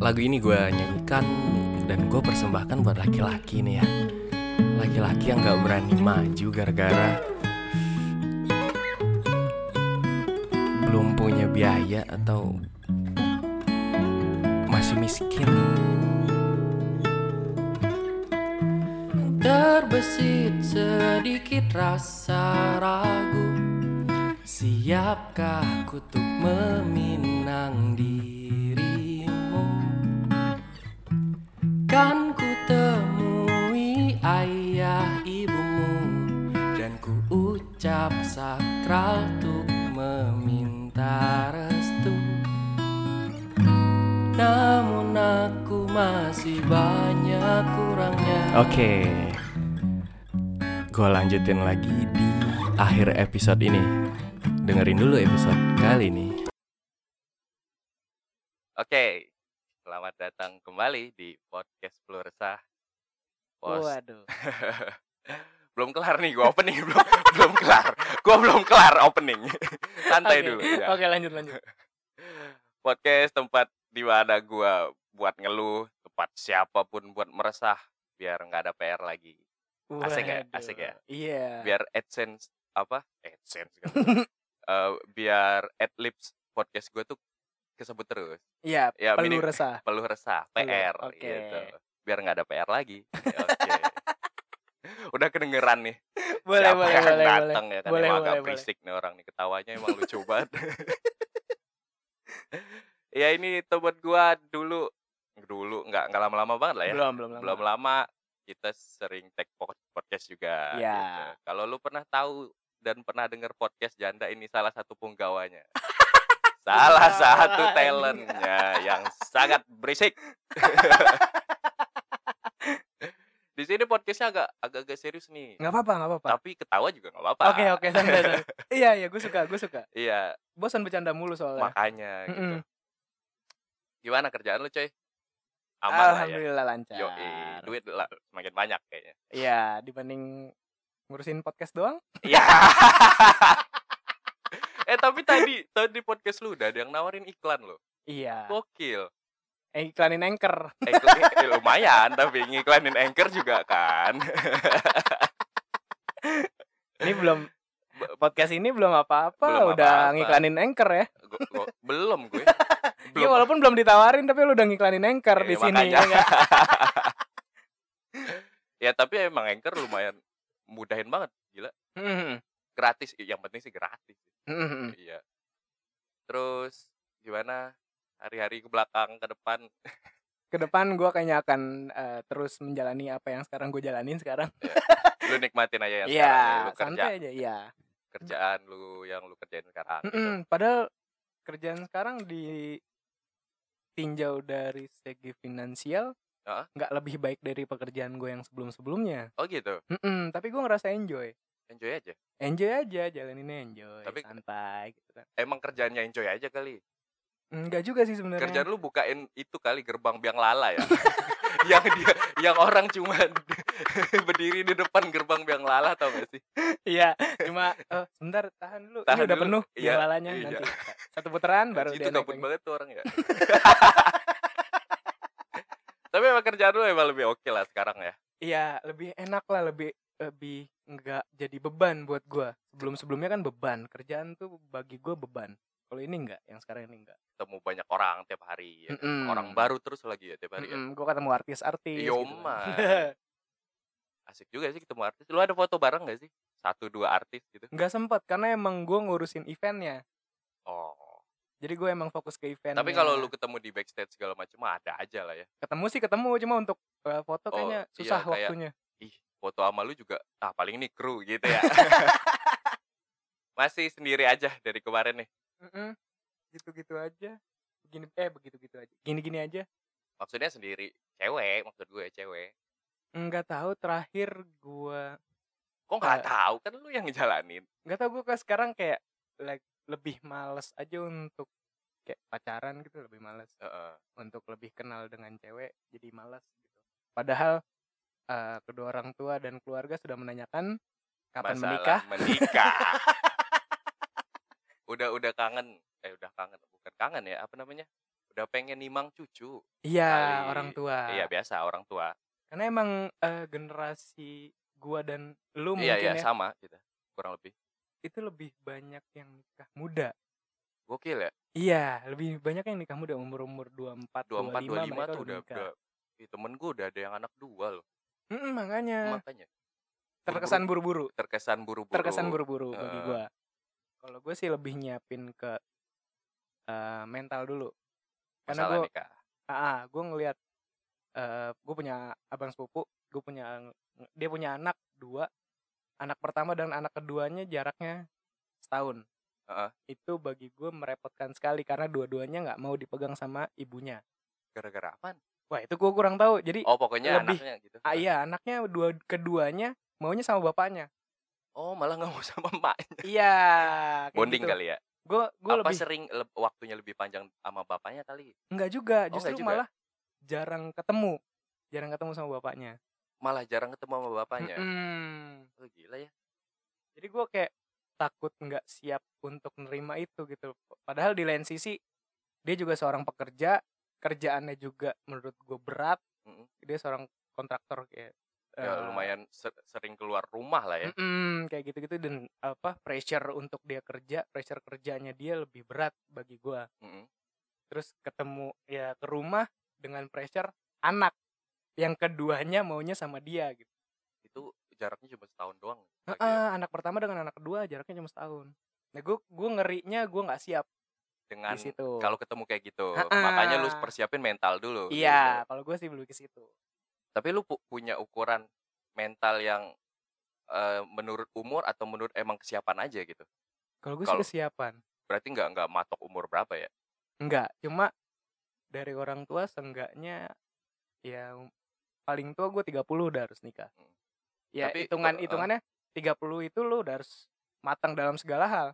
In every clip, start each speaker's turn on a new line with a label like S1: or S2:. S1: Lagu ini gue nyanyikan dan gue persembahkan buat laki-laki nih ya Laki-laki yang gak berani maju gara-gara Belum punya biaya atau masih miskin Terbesit sedikit rasa ragu Siapkah ku untuk meminang dirimu Kan ku temui ayah ibumu Dan ku ucap sakral untuk meminta restu Namun aku masih banyak kurangnya Oke Gue lanjutin lagi di akhir episode ini dengerin dulu episode kali ini.
S2: Oke, selamat datang kembali di podcast Blur Resah. Pos-
S3: Waduh.
S2: belum kelar nih, gua opening belum belum kelar. Gua belum kelar opening. Santai
S3: Oke.
S2: dulu. ya.
S3: Oke, lanjut lanjut.
S2: Podcast tempat di mana gua buat ngeluh, tempat siapapun buat meresah, biar nggak ada PR lagi.
S3: Nah.
S2: Asik ya?
S3: Waduh.
S2: Asik ya?
S3: Iya.
S2: Biar AdSense apa? AdSense kan. Eh, biar adlibs podcast gue tuh kesebut terus.
S3: Iya,
S2: Ya,
S3: perlu
S2: minim-
S3: resah.
S2: peluh resah
S3: Peluh,
S2: PR
S3: oke.
S2: gitu biar nggak ada PR lagi Ya, oke udah kedengeran nih
S3: Boleh,
S2: siapa
S3: boleh,
S2: yang
S3: boleh, boleh.
S2: ganteng ya kan
S3: Boleh,
S2: emang agak
S3: boleh, boleh.
S2: berisik nih orang nih ketawanya emang lucu banget ya ini temen gua dulu dulu nggak nggak lama-lama banget lah ya
S3: Belum, belum,
S2: belum lama kita sering tag pod- podcast juga
S3: Ya.
S2: gitu. kalau lu pernah tahu dan pernah denger podcast janda ini salah satu punggawanya salah satu
S3: Punggawanya.
S2: talentnya yang sangat berisik di sini podcastnya agak agak agak serius nih
S3: Enggak apa-apa, enggak apa-apa.
S2: tapi ketawa juga nggak apa-apa
S3: Oke, oke, santai, santai. Iya, iya, gue suka, gue suka.
S2: iya
S3: Bosan bercanda mulu soalnya.
S2: makanya gitu
S3: Mm-mm.
S2: gimana kerjaan lu coy aman lah ya
S3: Alhamdulillah lancar.
S2: Yoi, duit lah, semakin banyak kayaknya
S3: Iya, dibanding ngurusin podcast doang.
S2: Ya. eh tapi tadi tadi di podcast lu udah ada yang nawarin iklan lo.
S3: Iya.
S2: Gokil.
S3: Eh, iklanin anchor.
S2: Eh, iklan- eh, lumayan tapi ngiklanin anchor juga kan.
S3: Ini belum podcast ini belum apa-apa,
S2: Belum
S3: udah
S2: apa-apa.
S3: ngiklanin anchor ya.
S2: Go- go- belum gue.
S3: Iya, walaupun belum ditawarin tapi lu udah ngiklanin anchor
S2: Eh,
S3: di sini.
S2: makanya.
S3: ya nggak?
S2: ya tapi emang anchor lumayan mudahin banget,
S3: Mm-mm.
S2: gratis. Yang penting sih gratis.
S3: Mm-mm.
S2: Iya. Terus gimana hari-hari ke belakang ke depan
S3: ke depan gue kayaknya akan eh, terus menjalani apa yang sekarang gue jalanin sekarang.
S2: lu nikmatin aja yang sekarang ya,
S3: Iya,
S2: lu kerja
S3: santai aja. Iya.
S2: kerjaan lu yang lu kerjain sekarang gitu.
S3: Mm-mm, Padahal kerjaan sekarang di tinjau dari segi finansial
S2: Heeh.
S3: nggak lebih baik dari pekerjaan gue yang sebelum-sebelumnya.
S2: Oh gitu.
S3: Mm-mm, tapi gue ngerasa enjoy.
S2: Enjoy aja.
S3: Enjoy aja jalaninnya enjoy,
S2: Tapi-
S3: santai gitu kan.
S2: emang kerjaannya enjoy aja kali.
S3: Enggak juga sih sebenarnya.
S2: Kerjaan lu bukain itu kali gerbang biang lala ya. yang dia yang orang cuma berdiri di depan gerbang biang lala tau gak sih?
S3: Iya, cuma eh, sebentar tahan dulu.
S2: Tahan
S3: Ini udah
S2: dulu,
S3: penuh
S2: iya,
S3: biar lalanya
S2: iya.
S3: nanti. Satu putaran baru
S2: itu
S3: dia naik
S2: gabut
S3: lagi.
S2: banget tuh orang ya. Tapi emang kerjaan lu emang lebih oke lah sekarang ya.
S3: Iya, lebih enak lah, lebih lebih nggak jadi beban buat gua. Sebelum sebelumnya kan beban, kerjaan tuh bagi gua beban. Kalau ini enggak, yang sekarang ini enggak.
S2: Ketemu banyak orang tiap hari ya.
S3: Mm-mm.
S2: Orang baru terus lagi ya tiap hari ya.
S3: Mm-mm, gua ketemu artis-artis.
S2: Iya,
S3: gitu
S2: Yoman.
S3: kan.
S2: Asik juga sih ketemu artis. Lu ada foto bareng gak sih? Satu dua artis gitu.
S3: Nggak sempat karena emang gua ngurusin eventnya.
S2: Oh.
S3: Jadi gua emang fokus ke event.
S2: Tapi kalau lu ketemu di backstage segala macam ada aja lah ya.
S3: ketemu sih ketemu, cuma untuk eh, foto
S2: Oh,
S3: kayaknya
S2: iya,
S3: susah
S2: kayak-
S3: waktunya.
S2: ih foto sama lu juga ah paling ini kru gitu ya masih sendiri aja dari kemarin nih
S3: Mm-mm. Gitu-gitu aja. Begini eh begitu-gitu aja. Gini-gini aja.
S2: maksudnya sendiri cewek maksud gue cewek
S3: Nggak tahu terakhir gua
S2: kok nggak
S3: Eh.
S2: tahu kan lu yang ngejalanin
S3: nggak tau gue sekarang kayak like, lebih males aja untuk kayak pacaran gitu lebih males
S2: Heeh.
S3: untuk lebih kenal dengan cewek jadi males gitu padahal eh, kedua orang tua dan keluarga sudah menanyakan kapan
S2: Masalah
S3: menikah
S2: menikah udah udah kangen eh udah kangen bukan kangen ya apa namanya udah udah pengen nimang cucu.
S3: Iya,
S2: Kali-
S3: orang tua.
S2: Iya biasa orang tua.
S3: Karena emang eh, generasi gua dan lu mungkin
S2: Iya iya
S3: ya,
S2: sama gitu. Kurang lebih.
S3: itu lebih banyak yang nikah muda.
S2: Gokil ya.
S3: Iya, lebih banyak yang nikah muda umur-umur 24,
S2: 24 25,
S3: 25 mereka
S2: tuh udah,
S3: nikah.
S2: udah Ih, temen gue udah ada yang anak dua loh.
S3: Mm-mm, makanya
S2: Makanya
S3: Eh. terkesan buru-buru,
S2: terkesan buru-buru.
S3: terkesan buru-buru bagi
S2: Eh.
S3: gua. Kalau gue sih lebih nyiapin ke eh, mental dulu. Karena
S2: masalah
S3: gue
S2: nikah.
S3: Ah, gue ngelihat gue punya abang sepupu, gue punya dia punya anak dua, anak pertama dan anak keduanya jaraknya setahun.
S2: Heeh.
S3: Itu bagi gue merepotkan sekali karena dua-duanya nggak mau dipegang sama ibunya.
S2: Gara-gara apaan?
S3: Wah itu gue kurang tahu. Jadi
S2: Oh pokoknya
S3: Lebih.
S2: anaknya gitu.
S3: ah, iya anaknya dua keduanya maunya sama bapaknya.
S2: Oh malah nggak mau sama emaknya.
S3: iya.
S2: Bonding kali ya.
S3: Gue gue
S2: Apa
S3: gitu. lebih
S2: sering le- waktunya lebih panjang sama bapaknya kali?
S3: nggak juga,
S2: Oh, nggak juga.
S3: justru
S2: ya?
S3: malah jarang ketemu, jarang ketemu sama bapaknya.
S2: Malah jarang ketemu sama bapaknya.
S3: Mm-mm.
S2: Oh, gila ya.
S3: jadi gue kayak takut nggak siap untuk nerima itu gitu padahal di lain sisi dia juga seorang pekerja kerjaannya juga menurut gue berat
S2: Mm-mm.
S3: dia seorang kontraktor kayak
S2: Ya,
S3: eh,
S2: lumayan ser- sering keluar rumah lah ya.
S3: mm-mm, kayak gitu-gitu dan apa pressure untuk dia kerja pressure kerjanya dia lebih berat bagi gue
S2: Mm-mm.
S3: terus ketemu ya ke rumah dengan pressure anak yang keduanya maunya sama dia gitu
S2: Itu jaraknya cuma setahun doang. lagi ya.
S3: Heeh, anak pertama dengan anak kedua jaraknya cuma setahun nah gue gue ngerinya gue nggak siap
S2: Dengan
S3: di situ
S2: kalau ketemu kayak gitu,
S3: Ha-ha.
S2: makanya lu persiapin mental dulu. gitu.
S3: Iya, kalau gue sih belum ke situ.
S2: Tapi lu pu- punya ukuran mental yang eh, menurut umur atau menurut emang kesiapan aja gitu.
S3: Kalau gue
S2: Kalau-
S3: sih kesiapan.
S2: Berarti nggak nggak matok umur berapa ya?
S3: Enggak, cuma dari orang tua seenggaknya ya paling tua gue 30 udah harus nikah.
S2: Hmm.
S3: Ya,
S2: Tapi, eh,
S3: hitungan-hitungannya 30 itu lu udah harus matang dalam segala hal,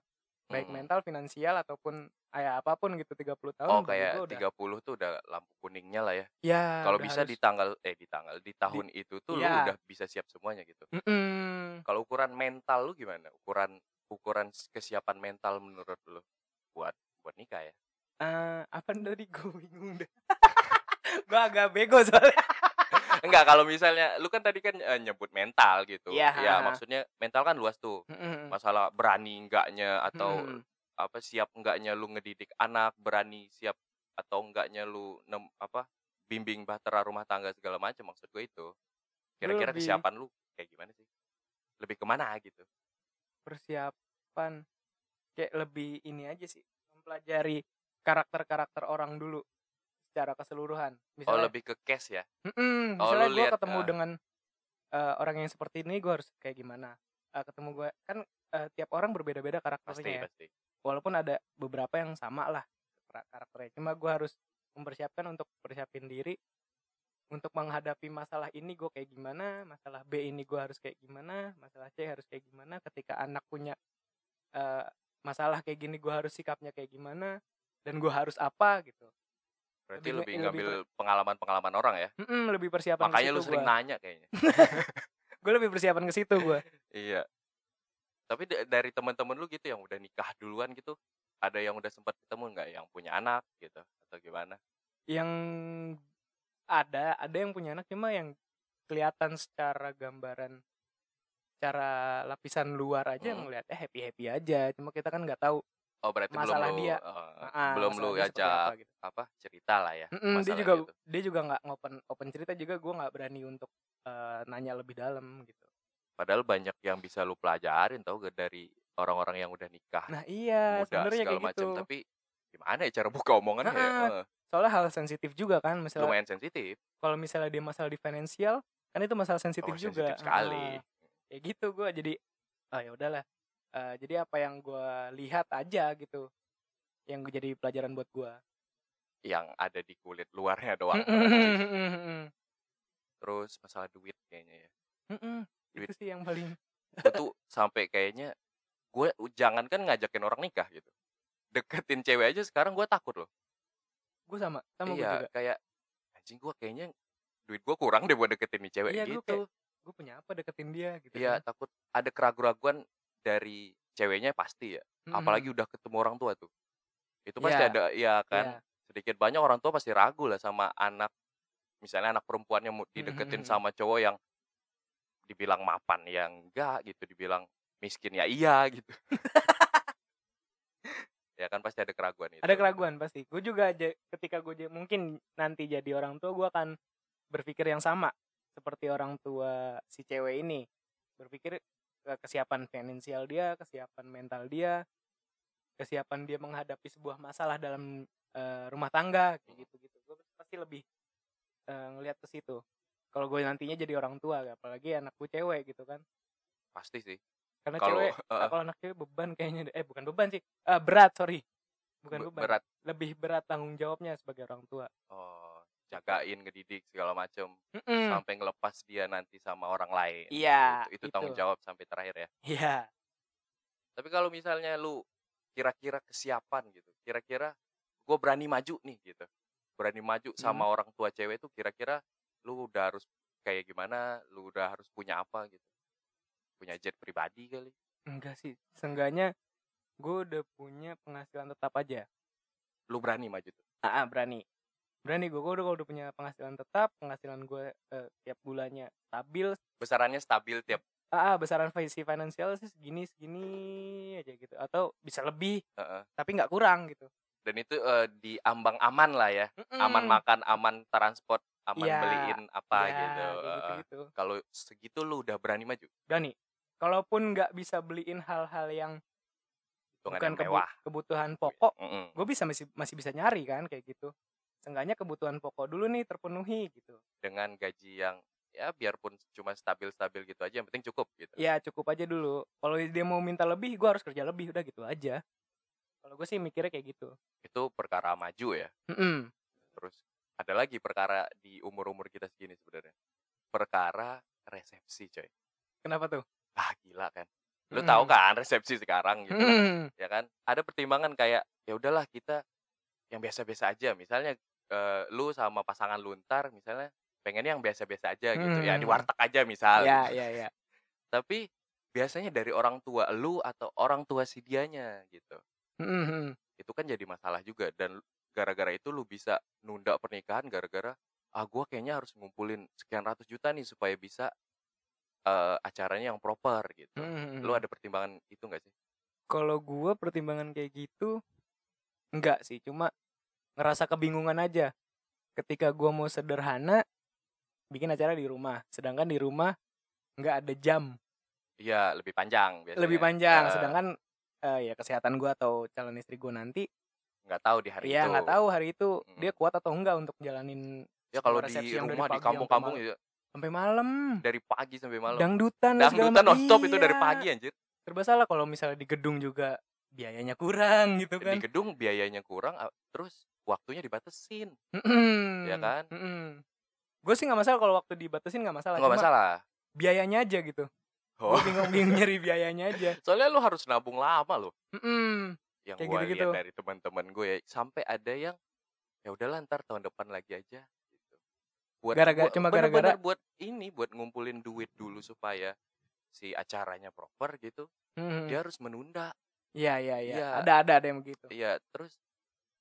S3: baik
S2: Mm-mm.
S3: mental, finansial ataupun ayah apapun gitu 30 tahun.
S2: Oh
S3: bagi gua
S2: kayak
S3: udah-
S2: 30 tuh udah lampu kuningnya lah ya.
S3: Ya,
S2: Kalau
S3: udah
S2: bisa
S3: harus-
S2: di tanggal eh di tanggal di tahun itu tuh lu
S3: Iya.
S2: udah bisa siap semuanya gitu.
S3: Mm-mm.
S2: Kalau ukuran mental lu gimana? Ukuran ukuran s- kesiapan mental menurut lu buat buat nikah ya?
S3: Eh, apa tadi gue bingung deh. gue agak bego soalnya.
S2: Enggak, kalau misalnya lu kan tadi kan eh, nyebut mental gitu.
S3: Iya. Hmm.
S2: Ya, maksudnya mental kan luas tuh.
S3: Mm-mm.
S2: Masalah berani enggaknya atau
S3: Mm-mm.
S2: apa siap enggaknya lu ngedidik anak, berani siap atau enggaknya lu nem, apa bimbing bahtera rumah tangga segala macam maksud gue itu. Kira-kira
S3: lebih-
S2: kesiapan lu kayak gimana sih? Lebih kemana gitu?
S3: persiapan kayak lebih ini aja sih mempelajari karakter-karakter orang dulu secara keseluruhan
S2: Oh,
S3: misalnya
S2: lebih ke cash ya.
S3: Mm-mm,
S2: oh,
S3: misalnya
S2: lu
S3: gue
S2: lihat,
S3: ketemu
S2: ah.
S3: dengan eh, orang yang seperti ini gue harus kayak gimana Eh, ketemu gue kan eh, tiap orang berbeda-beda
S2: Pasti,
S3: karakternya ya.
S2: pasti.
S3: walaupun ada beberapa yang sama lah kar- karakternya cuma gue harus mempersiapkan untuk persiapin diri untuk menghadapi masalah ini gue kayak gimana masalah B ini gue harus kayak gimana masalah C harus kayak gimana ketika anak punya eh, masalah kayak gini gue harus sikapnya kayak gimana dan gue harus apa gitu
S2: Berarti
S3: Lebih-
S2: lebih,
S3: lebih
S2: ngambil pengalaman-pengalaman orang ya.
S3: Mm-mm, lebih persiapan
S2: Makanya
S3: ke
S2: lu
S3: situ
S2: sering
S3: gua.
S2: nanya kayaknya.
S3: Gua lebih persiapan ke situ gue
S2: Iya. Tapi da- dari teman-teman lu gitu yang udah nikah duluan gitu, ada yang udah sempat ketemu nggak yang punya anak gitu atau gimana?
S3: yang ada ada yang punya anak cuma yang kelihatan secara gambaran cara lapisan luar aja
S2: Hmm.
S3: ngelihat eh happy happy aja cuma kita kan nggak tahu
S2: Oh berarti
S3: Masalah
S2: belum lu
S3: dia.
S2: eh,
S3: ah,
S2: belum lu
S3: masalah dia seperti
S2: ajak
S3: apa gitu.
S2: apa cerita lah ya.
S3: Mm-mm, dia
S2: masalah
S3: juga
S2: gitu.
S3: dia juga nggak open open cerita juga gue nggak berani untuk eh, nanya lebih dalam gitu
S2: Padahal banyak yang bisa lu pelajarin tau gak dari orang-orang yang udah nikah
S3: nah iya
S2: muda
S3: sebenarnya
S2: segala
S3: kayak
S2: macam.
S3: gitu
S2: Tapi gimana ya cara buka omongannya? ya?
S3: Ah,
S2: Eh,
S3: soalnya hal sensitif juga kan misalnya
S2: lumayan sensitif.
S3: kalau misalnya dia masalah di finansial kan itu masalah sensitif
S2: Oh,
S3: juga
S2: sensitif sekali.
S3: Ah. ya gitu gue jadi ah ya udahlah Eh, jadi apa yang gue lihat aja gitu yang jadi pelajaran buat gue
S2: Yang ada di kulit luarnya doang. Terus masalah duit kayaknya ya.
S3: itu sih yang paling
S2: gue tuh sampai kayaknya gue jangan kan ngajakin orang nikah gitu deketin cewek aja sekarang gue takut loh
S3: gue sama sama gue
S2: iya
S3: juga
S2: kayak anjing gue kayaknya duit gue kurang deh buat deketin nih cewek
S3: Iya, gua
S2: gitu
S3: gue punya apa deketin dia gitu
S2: iya takut ada keraguan-keraguan dari ceweknya pasti ya apalagi udah ketemu orang tua tuh itu pasti
S3: Hmm. Iya.
S2: ada ya kan sedikit banyak orang tua pasti ragu lah sama anak misalnya anak perempuannya mau dideketin
S3: Mhm.
S2: sama cowok yang dibilang mapan ya enggak gitu dibilang miskin ya iya gitu ya kan pasti ada keraguan itu
S3: ada keraguan pasti gue juga aja ketika gue ja- mungkin nanti jadi orang tua gue akan berpikir yang sama seperti orang tua si cewek ini berpikir eh, kesiapan finansial dia kesiapan mental dia kesiapan dia menghadapi sebuah masalah dalam eh, rumah tangga kayak gitu gitu gue pasti lebih eh, ngelihat ke situ kalau gue nantinya jadi orang tua apalagi anak gue cewek gitu kan
S2: pasti sih
S3: karena
S2: kalau
S3: cewek ah,
S2: eh,
S3: kalau anak cewek beban kayaknya deh. eh bukan beban sih Eh, berat sorry
S2: be-
S3: bukan beban
S2: berat
S3: lebih berat tanggung jawabnya sebagai orang tua.
S2: oh, jagain ngedidik segala macem
S3: Mm-mm.
S2: sampai ngelepas dia nanti sama orang lain
S3: Hmm. Iya,
S2: itu, itu tanggung
S3: itu.
S2: jawab sampai terakhir ya
S3: Iya.
S2: tapi kalau misalnya lu kira-kira kesiapan gitu kira-kira gue berani maju nih gitu berani maju
S3: Hmm.
S2: sama orang tua cewek tuh kira-kira lu udah harus kayak gimana lu udah harus punya apa gitu punya jet pribadi kali
S3: Enggak sih. Seenggaknya gue udah punya penghasilan tetap aja.
S2: lu berani maju tuh
S3: Ah, ah, berani. Berani gue, gue udah kalau udah punya penghasilan tetap, penghasilan gue eh, tiap bulannya stabil.
S2: besarannya stabil tiap
S3: Ah, ah, besaran fi- si finansial sih segini segini aja gitu. Atau bisa lebih,
S2: Heeh.
S3: tapi nggak kurang gitu.
S2: dan itu eh, di ambang aman lah ya
S3: Mm-mm.
S2: aman makan aman transport aman
S3: Hmm. Iya,
S2: beliin apa
S3: Iya,
S2: gitu
S3: kayak
S2: Heeh.
S3: gitu-gitu.
S2: kalau segitu lu udah berani maju
S3: Berani. Kalaupun nggak bisa beliin hal-hal yang
S2: hitungan
S3: bukan
S2: yang
S3: kebu-
S2: mewah Iya.
S3: kebutuhan pokok,
S2: Mm-mm.
S3: gue bisa masih masih bisa nyari kan kayak gitu Seenggaknya kebutuhan pokok dulu nih terpenuhi gitu
S2: dengan gaji yang ya biarpun cuma stabil-stabil gitu aja yang penting cukup gitu
S3: ya cukup aja dulu kalau dia mau minta lebih gue harus kerja lebih udah gitu aja kalau gue sih mikirnya kayak gitu Hmm,
S2: itu perkara maju ya
S3: Mm-mm.
S2: terus ada lagi perkara di umur-umur kita segini sebenarnya perkara resepsi coy
S3: kenapa tuh
S2: ah gila kan lu
S3: Mm.
S2: tahu kan resepsi sekarang gitu kan,
S3: Mm-mm.
S2: ya kan ada pertimbangan kayak ya udahlah kita yang biasa-biasa aja misalnya eh, lu sama pasangan luntar misalnya pengennya yang biasa-biasa aja gitu ya di
S3: Mm.
S2: warteg aja misal
S3: ya
S2: gitu.
S3: ya ya
S2: tapi biasanya dari orang tua lu atau orang tua si dianya gitu
S3: Mm-mm.
S2: itu kan jadi masalah juga dan gara-gara itu lu bisa nunda pernikahan gara-gara ah gua kayaknya harus ngumpulin sekian ratus juta nih supaya bisa eh, acaranya yang proper gitu.
S3: Mm-mm.
S2: Lu ada pertimbangan itu nggak sih?
S3: hmm. kalau gue pertimbangan kayak gitu enggak sih cuma ngerasa kebingungan aja ketika gue mau sederhana bikin acara di rumah sedangkan di rumah nggak ada jam
S2: Iya lebih panjang biasanya.
S3: lebih panjang
S2: Eh,
S3: sedangkan eh, ya kesehatan gua atau calon istri gua nanti
S2: nggak tahu di hari
S3: ya
S2: itu.
S3: nggak tahu hari itu
S2: Mm-mm.
S3: dia kuat atau enggak untuk jalanin
S2: Ya kalau
S3: Resepsi
S2: di
S3: yang dari
S2: rumah di
S3: pagi
S2: kampung-kampung
S3: sampai
S2: gitu,
S3: sampai malam
S2: dari pagi sampai malam.
S3: dangdutan dan segala
S2: Dangdutan
S3: macam.
S2: nonstop itu dari
S3: Iya.
S2: pagi anjir.
S3: serba salah kalau misalnya di gedung juga biayanya kurang
S2: Di
S3: gitu kan
S2: gedung biayanya kurang ah, terus waktunya dibatesin. Ya kan?
S3: gue sih nggak masalah kalau waktu dibatasin nggak masalah
S2: Nggak
S3: Cuma
S2: masalah.
S3: biayanya aja gitu
S2: Oh.
S3: Gua bingung-bingung nyari biayanya aja
S2: Soalnya lu harus nabung lama loh.
S3: Mm-mm.
S2: yang
S3: Kayak
S2: gue
S3: gitu-gitu.
S2: lihat dari teman-teman gue ya sampai ada yang ya udahlah ntar tahun depan lagi aja gitu. buat
S3: Gara-gara-
S2: buat-
S3: cuma
S2: bener-bener
S3: gara-gara.
S2: buat ini buat ngumpulin duit dulu supaya si acaranya proper gitu
S3: Mm.
S2: dia harus menunda
S3: Iya iya iya
S2: Iya.
S3: ada ada ada yang begitu
S2: ya terus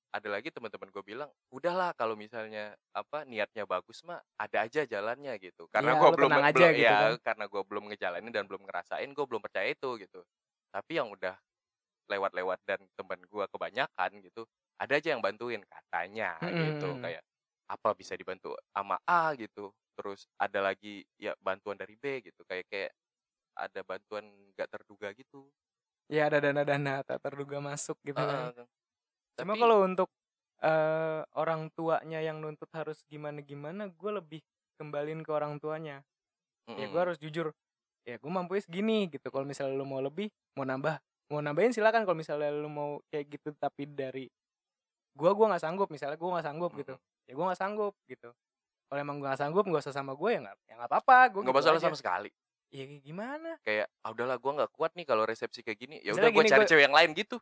S2: ada lagi teman-teman gue bilang udahlah kalau misalnya apa niatnya bagus mah ada aja jalannya gitu karena
S3: Iya,
S2: gue
S3: lu
S2: belum
S3: tenang aja
S2: belum-
S3: gitu
S2: ya,
S3: kan.
S2: karena gue belum ngejalanin dan belum ngerasain gue belum percaya itu gitu tapi yang udah lewat-lewat dan teman gue kebanyakan gitu ada aja yang bantuin katanya gitu
S3: Mm.
S2: kayak apa bisa dibantu sama A gitu terus ada lagi ya bantuan dari B gitu kayak kayak ada bantuan nggak terduga gitu
S3: ya ada dana dana tak terduga masuk gitu kan
S2: Heeh.
S3: Cuma
S2: Tapi-
S3: kalau untuk eh, orang tuanya yang nuntut harus gimana-gimana, gue lebih kembalin ke orang tuanya. Ya
S2: Mm-mm.
S3: gue harus jujur. Ya gue mampu segini gitu. Kalau misalnya lu mau lebih, mau nambah, mau nambahin silakan. Kalau misalnya lu mau kayak gitu tapi dari gue gue nggak sanggup. Misalnya gue nggak sanggup gitu.
S2: Hmm.
S3: Ya gue nggak sanggup gitu. Kalau emang gue nggak sanggup, nggak usah sama gue ya nggak ya nggak apa-apa. Gue
S2: nggak masalah sama sekali
S3: Ya gimana?
S2: kayak ah udahlah gue nggak kuat nih kalau resepsi kayak gini ya udah
S3: Misalnya
S2: gue
S3: gini,
S2: cari
S3: gua-
S2: cewek yang lain gitu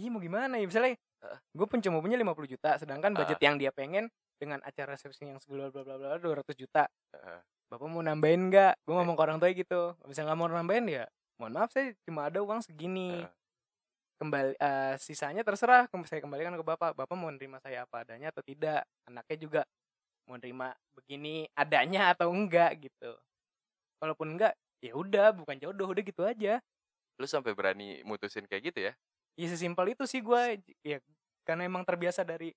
S3: Iya mau gimana ya misalnya
S2: Heeh.
S3: gue pun cuma punya 50 juta sedangkan budget yang dia pengen dengan acara resepsi yang segala bla bla bla 200 juta.
S2: Heeh.
S3: Bapak mau nambahin nggak? Gue ngomong ke orang tua gitu. Kalau misalnya nggak mau nambahin ya mohon maaf saya cuma ada uang segini.
S2: Heeh.
S3: kembali eh, sisanya terserah kem- saya kembalikan ke bapak bapak mau nerima saya apa adanya atau tidak anaknya juga mau nerima begini adanya atau enggak gitu walaupun enggak ya udah bukan jodoh udah gitu aja
S2: Lu sampai berani mutusin kayak gitu ya?
S3: ya sesimpel itu sih gue ya karena emang terbiasa dari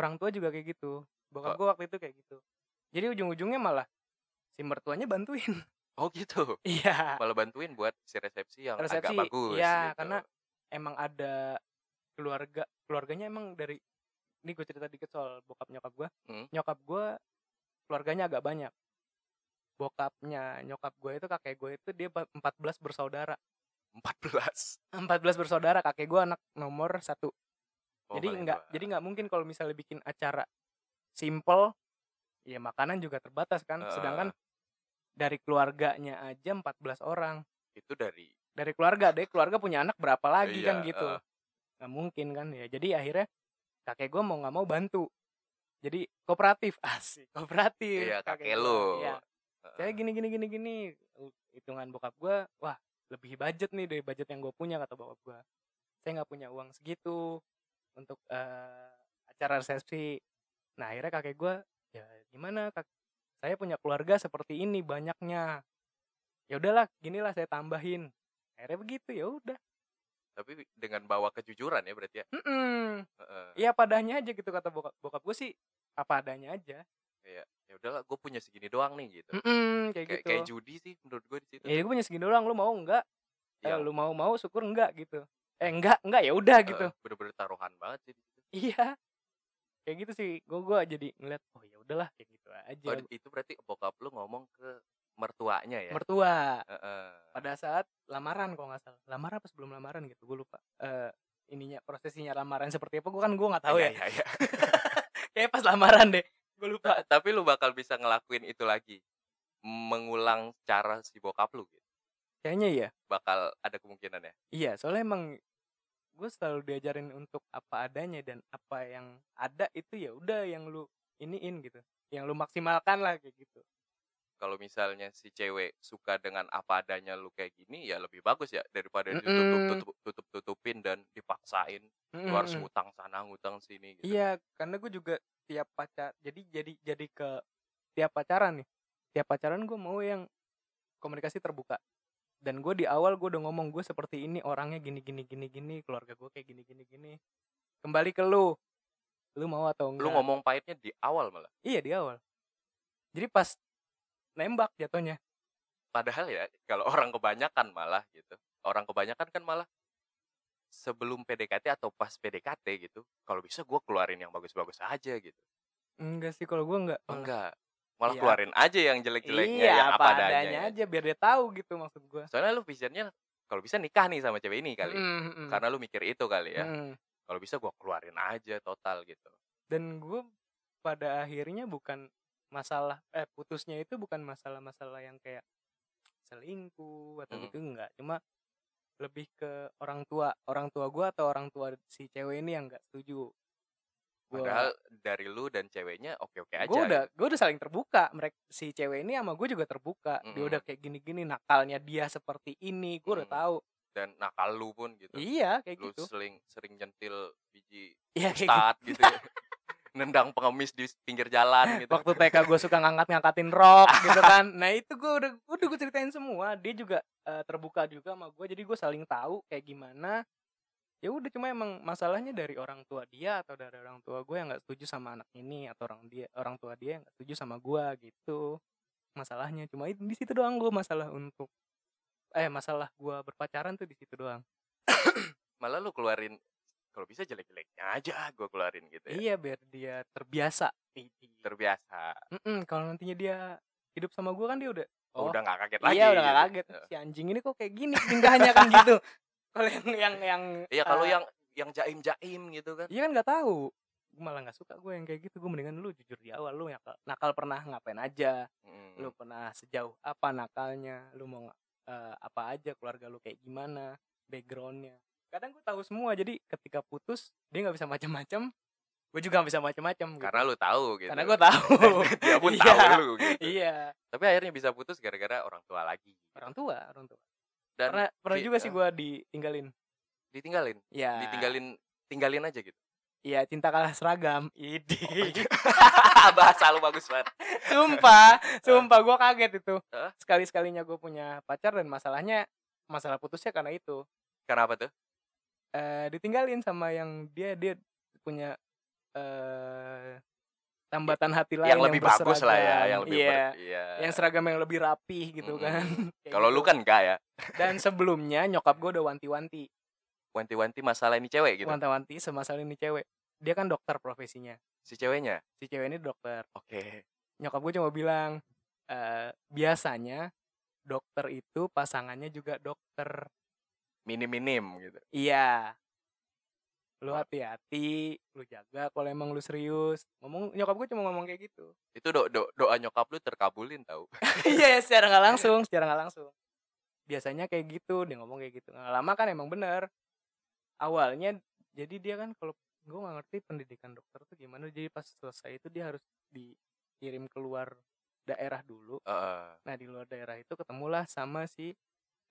S3: orang tua juga kayak gitu bokap gue waktu itu kayak gitu jadi ujung-ujungnya malah si mertuanya bantuin
S2: Oh gitu.
S3: iya
S2: Malah bantuin buat si resepsi yang agak
S3: Resepsi,
S2: bagus.
S3: iya,
S2: gitu.
S3: karena- emang ada keluarga keluarganya emang dari ini gue cerita dikit soal bokap nyokap gue
S2: Hmm.
S3: nyokap gue keluarganya agak banyak bokapnya nyokap gue itu kakek gue itu dia ba- 14 bersaudara
S2: 14.
S3: 14 bersaudara kakek gue anak nomor satu
S2: Oh,
S3: jadi
S2: paling
S3: nggak
S2: bawah.
S3: jadi nggak mungkin kalau misalnya bikin acara simple ya makanan juga terbatas kan sedangkan dari keluarganya aja 14 orang
S2: itu dari
S3: dari keluarga deh keluarga punya anak berapa lagi
S2: Iya,
S3: kan gitu
S2: eh.
S3: nggak mungkin kan ya jadi akhirnya kakek gue mau nggak mau bantu jadi kooperatif asik kooperatif
S2: Iya, kakek
S3: gua.
S2: lu.
S3: Iya.
S2: Heeh.
S3: saya gini gini gini gini hitungan bokap gue wah lebih budget nih dari budget yang gue punya kata bokap gue saya nggak punya uang segitu untuk eh, acara resepsi nah akhirnya kakek gue ya gimana kak saya punya keluarga seperti ini banyaknya ya udahlah ginilah saya tambahin akhirnya begitu ya udah
S2: tapi dengan bawa kejujuran ya berarti ya.
S3: Mm-mm.
S2: Heeh.
S3: iya padanya aja gitu kata bokap bokap gue sih apa adanya aja
S2: Ya udahlah, gue punya segini doang nih gitu.
S3: Mm-mm, kayak
S2: Kayak
S3: gitu
S2: kayak judi sih menurut gue di situ.
S3: ya gue punya segini doang lu mau nggak Eh,
S2: Iya.
S3: lu mau mau syukur enggak gitu eh enggak enggak ya udah
S2: Heeh,
S3: gitu
S2: Bener-bener taruhan banget sih. di situ.
S3: iya kayak gitu sih gue gue jadi ngeliat oh ya udahlah kayak gitu aja
S2: Oh, itu berarti bokap lu ngomong ke mertuanya ya.
S3: mertua
S2: Heeh.
S3: pada saat lamaran kalau nggak salah lamaran apa sebelum lamaran gitu gue lupa Eh ininya prosesinya lamaran seperti apa gue kan gue nggak tahu ya
S2: Iya, iya, iya.
S3: kayak pas lamaran deh gue lupa
S2: Ta- Tapi lu bakal bisa ngelakuin itu lagi. Mengulang cara si bokap lu gitu.
S3: kayaknya iya
S2: Bakal ada kemungkinan ya.
S3: iya soalnya emang gue selalu diajarin untuk apa adanya dan apa yang ada itu ya udah yang lu iniin gitu yang lu maksimalkan lah kayak gitu
S2: kalau misalnya si cewek suka dengan apa adanya lu kayak gini ya lebih bagus ya daripada
S3: Mm-mm.
S2: ditutup tutup tutupin dan dipaksain lu harus
S3: Mm-mm.
S2: ngutang sana ngutang sini gitu.
S3: Iya, karena gue juga tiap pacar, jadi jadi jadi ke tiap pacaran nih, tiap pacaran gue mau yang komunikasi terbuka. Dan gue di awal gue udah ngomong gue seperti ini orangnya gini gini gini gini, keluarga gue kayak gini gini gini. Kembali ke lu, lu mau atau enggak?
S2: Lu ngomong pahitnya di awal malah.
S3: Iya di awal. Jadi pas nembak jatuhnya.
S2: Padahal ya kalau orang kebanyakan malah gitu. Orang kebanyakan kan malah sebelum PDKT atau pas PDKT gitu. Kalau bisa gua keluarin yang bagus-bagus aja gitu.
S3: Enggak sih kalau gue enggak.
S2: Oh, enggak. Malah
S3: Iya.
S2: keluarin aja yang jelek-jeleknya
S3: iya,
S2: yang ya, apa adanya.
S3: aja biar dia tahu gitu maksud gue.
S2: Soalnya lu pikirnya kalau bisa nikah nih sama cewek ini kali. ya.
S3: Mm, mm,
S2: Karena lu mikir itu kali ya.
S3: mm.
S2: kalau bisa gua keluarin aja total gitu
S3: dan gue pada akhirnya bukan masalah eh putusnya itu bukan masalah-masalah yang kayak selingkuh atau
S2: Mm.
S3: gitu enggak cuma lebih ke orang tua orang tua gue atau orang tua si cewek ini yang nggak setuju Gua-
S2: padahal dari lu dan ceweknya oke oke aja
S3: gue udah
S2: gitu.
S3: gue udah saling terbuka mereka si cewek ini sama gue juga terbuka dia
S2: Mm-mm.
S3: udah kayak gini-gini nakalnya dia seperti ini gue udah
S2: Mm.
S3: tahu
S2: dan nakal lu pun gitu
S3: iya kayak
S2: lu
S3: gitu
S2: sering sering nyentil biji
S3: iya kayak gitu
S2: taat gitu ya. nendang pengemis di pinggir jalan gitu
S3: waktu TK gue suka ngangkat-ngangkatin rok gitu kan nah itu gue udah udah gue ceritain semua dia juga eh, terbuka juga sama gue jadi gue saling tahu kayak gimana ya udah cuma emang masalahnya dari orang tua dia atau dari orang tua gue yang nggak setuju sama anak ini atau orang dia orang tua dia yang nggak setuju sama gue gitu masalahnya cuma itu di situ doang gue masalah untuk eh masalah gue berpacaran tuh di situ doang
S2: malah lu keluarin kalau bisa jelek jeleknya aja gua keluarin gitu ya
S3: iya biar dia terbiasa
S2: terbiasa
S3: Mm-mm, kalau nantinya dia hidup sama gue kan dia udah
S2: Oh,
S3: Oh,
S2: udah nggak kaget lagi
S3: Iya udah gak
S2: gitu.
S3: kaget
S2: Heeh.
S3: si anjing ini kok kayak gini tingkahnya kan gitu. Kalau yang yang yang
S2: iya kalau
S3: eh,
S2: yang yang jaim jaim gitu kan
S3: iya kan nggak tahu. Gue malah nggak suka gue yang kayak gitu. Gue mendingan lu jujur di awal lu nakal, nakal pernah ngapain aja.
S2: Mm.
S3: Lu pernah sejauh apa nakalnya? Lu mau nga- eh, apa aja keluarga lu kayak gimana? Backgroundnya. Kadang gue tahu semua jadi ketika putus dia nggak bisa macam-macam. Gue juga nggak bisa macam-macam. gitu.
S2: karena lu tahu gitu
S3: karena gue tahu.
S2: dia pun
S3: Iya,
S2: tahu lu gitu
S3: Iya,
S2: tapi akhirnya bisa putus gara-gara orang tua lagi
S3: orang tua, orang tua.
S2: dan
S3: Pernah, pernah
S2: di-
S3: juga sih
S2: eh.
S3: gue ditinggalin.
S2: ditinggalin
S3: ya
S2: ditinggalin Oh, tinggalin aja gitu
S3: ya cinta kalah seragam ide
S2: bahasa lu bagus banget
S3: sumpah sumpah gue kaget itu
S2: Hah?
S3: sekali sekalinya gue punya pacar dan masalahnya masalah putusnya karena itu
S2: kenapa tuh
S3: Eh, ditinggalin sama yang dia dia punya eh tambatan hati lain
S2: yang lebih bagus lah ya
S3: berseragam.
S2: yang lebih
S3: Iya,
S2: ber- iya.
S3: yang seragam yang lebih rapi gitu
S2: Mm-mm.
S3: kan Kayak
S2: kalau
S3: gitu.
S2: lu kan enggak ya
S3: dan sebelumnya nyokap gue udah wanti-wanti
S2: wanti-wanti masalah ini cewek gitu
S3: wanti-wanti semasal ini cewek dia kan dokter profesinya
S2: si ceweknya
S3: si cewek ini dokter
S2: oke
S3: nyokap gue cuma bilang "Eh, biasanya dokter itu pasangannya juga dokter
S2: minim-minim gitu
S3: iya lu hati-hati lu jaga kalau emang lu serius ngomong nyokap gue cuma ngomong kayak gitu
S2: itu do, do- doa nyokap lu terkabulin tau
S3: iya secara nggak langsung secara nggak langsung biasanya kayak gitu dia ngomong kayak gitu Nah, lama kan emang bener awalnya jadi dia kan kalau gue nggak ngerti pendidikan dokter tuh gimana jadi pas selesai itu dia harus dikirim keluar daerah dulu
S2: Heeh.
S3: Nah di luar daerah itu ketemulah sama si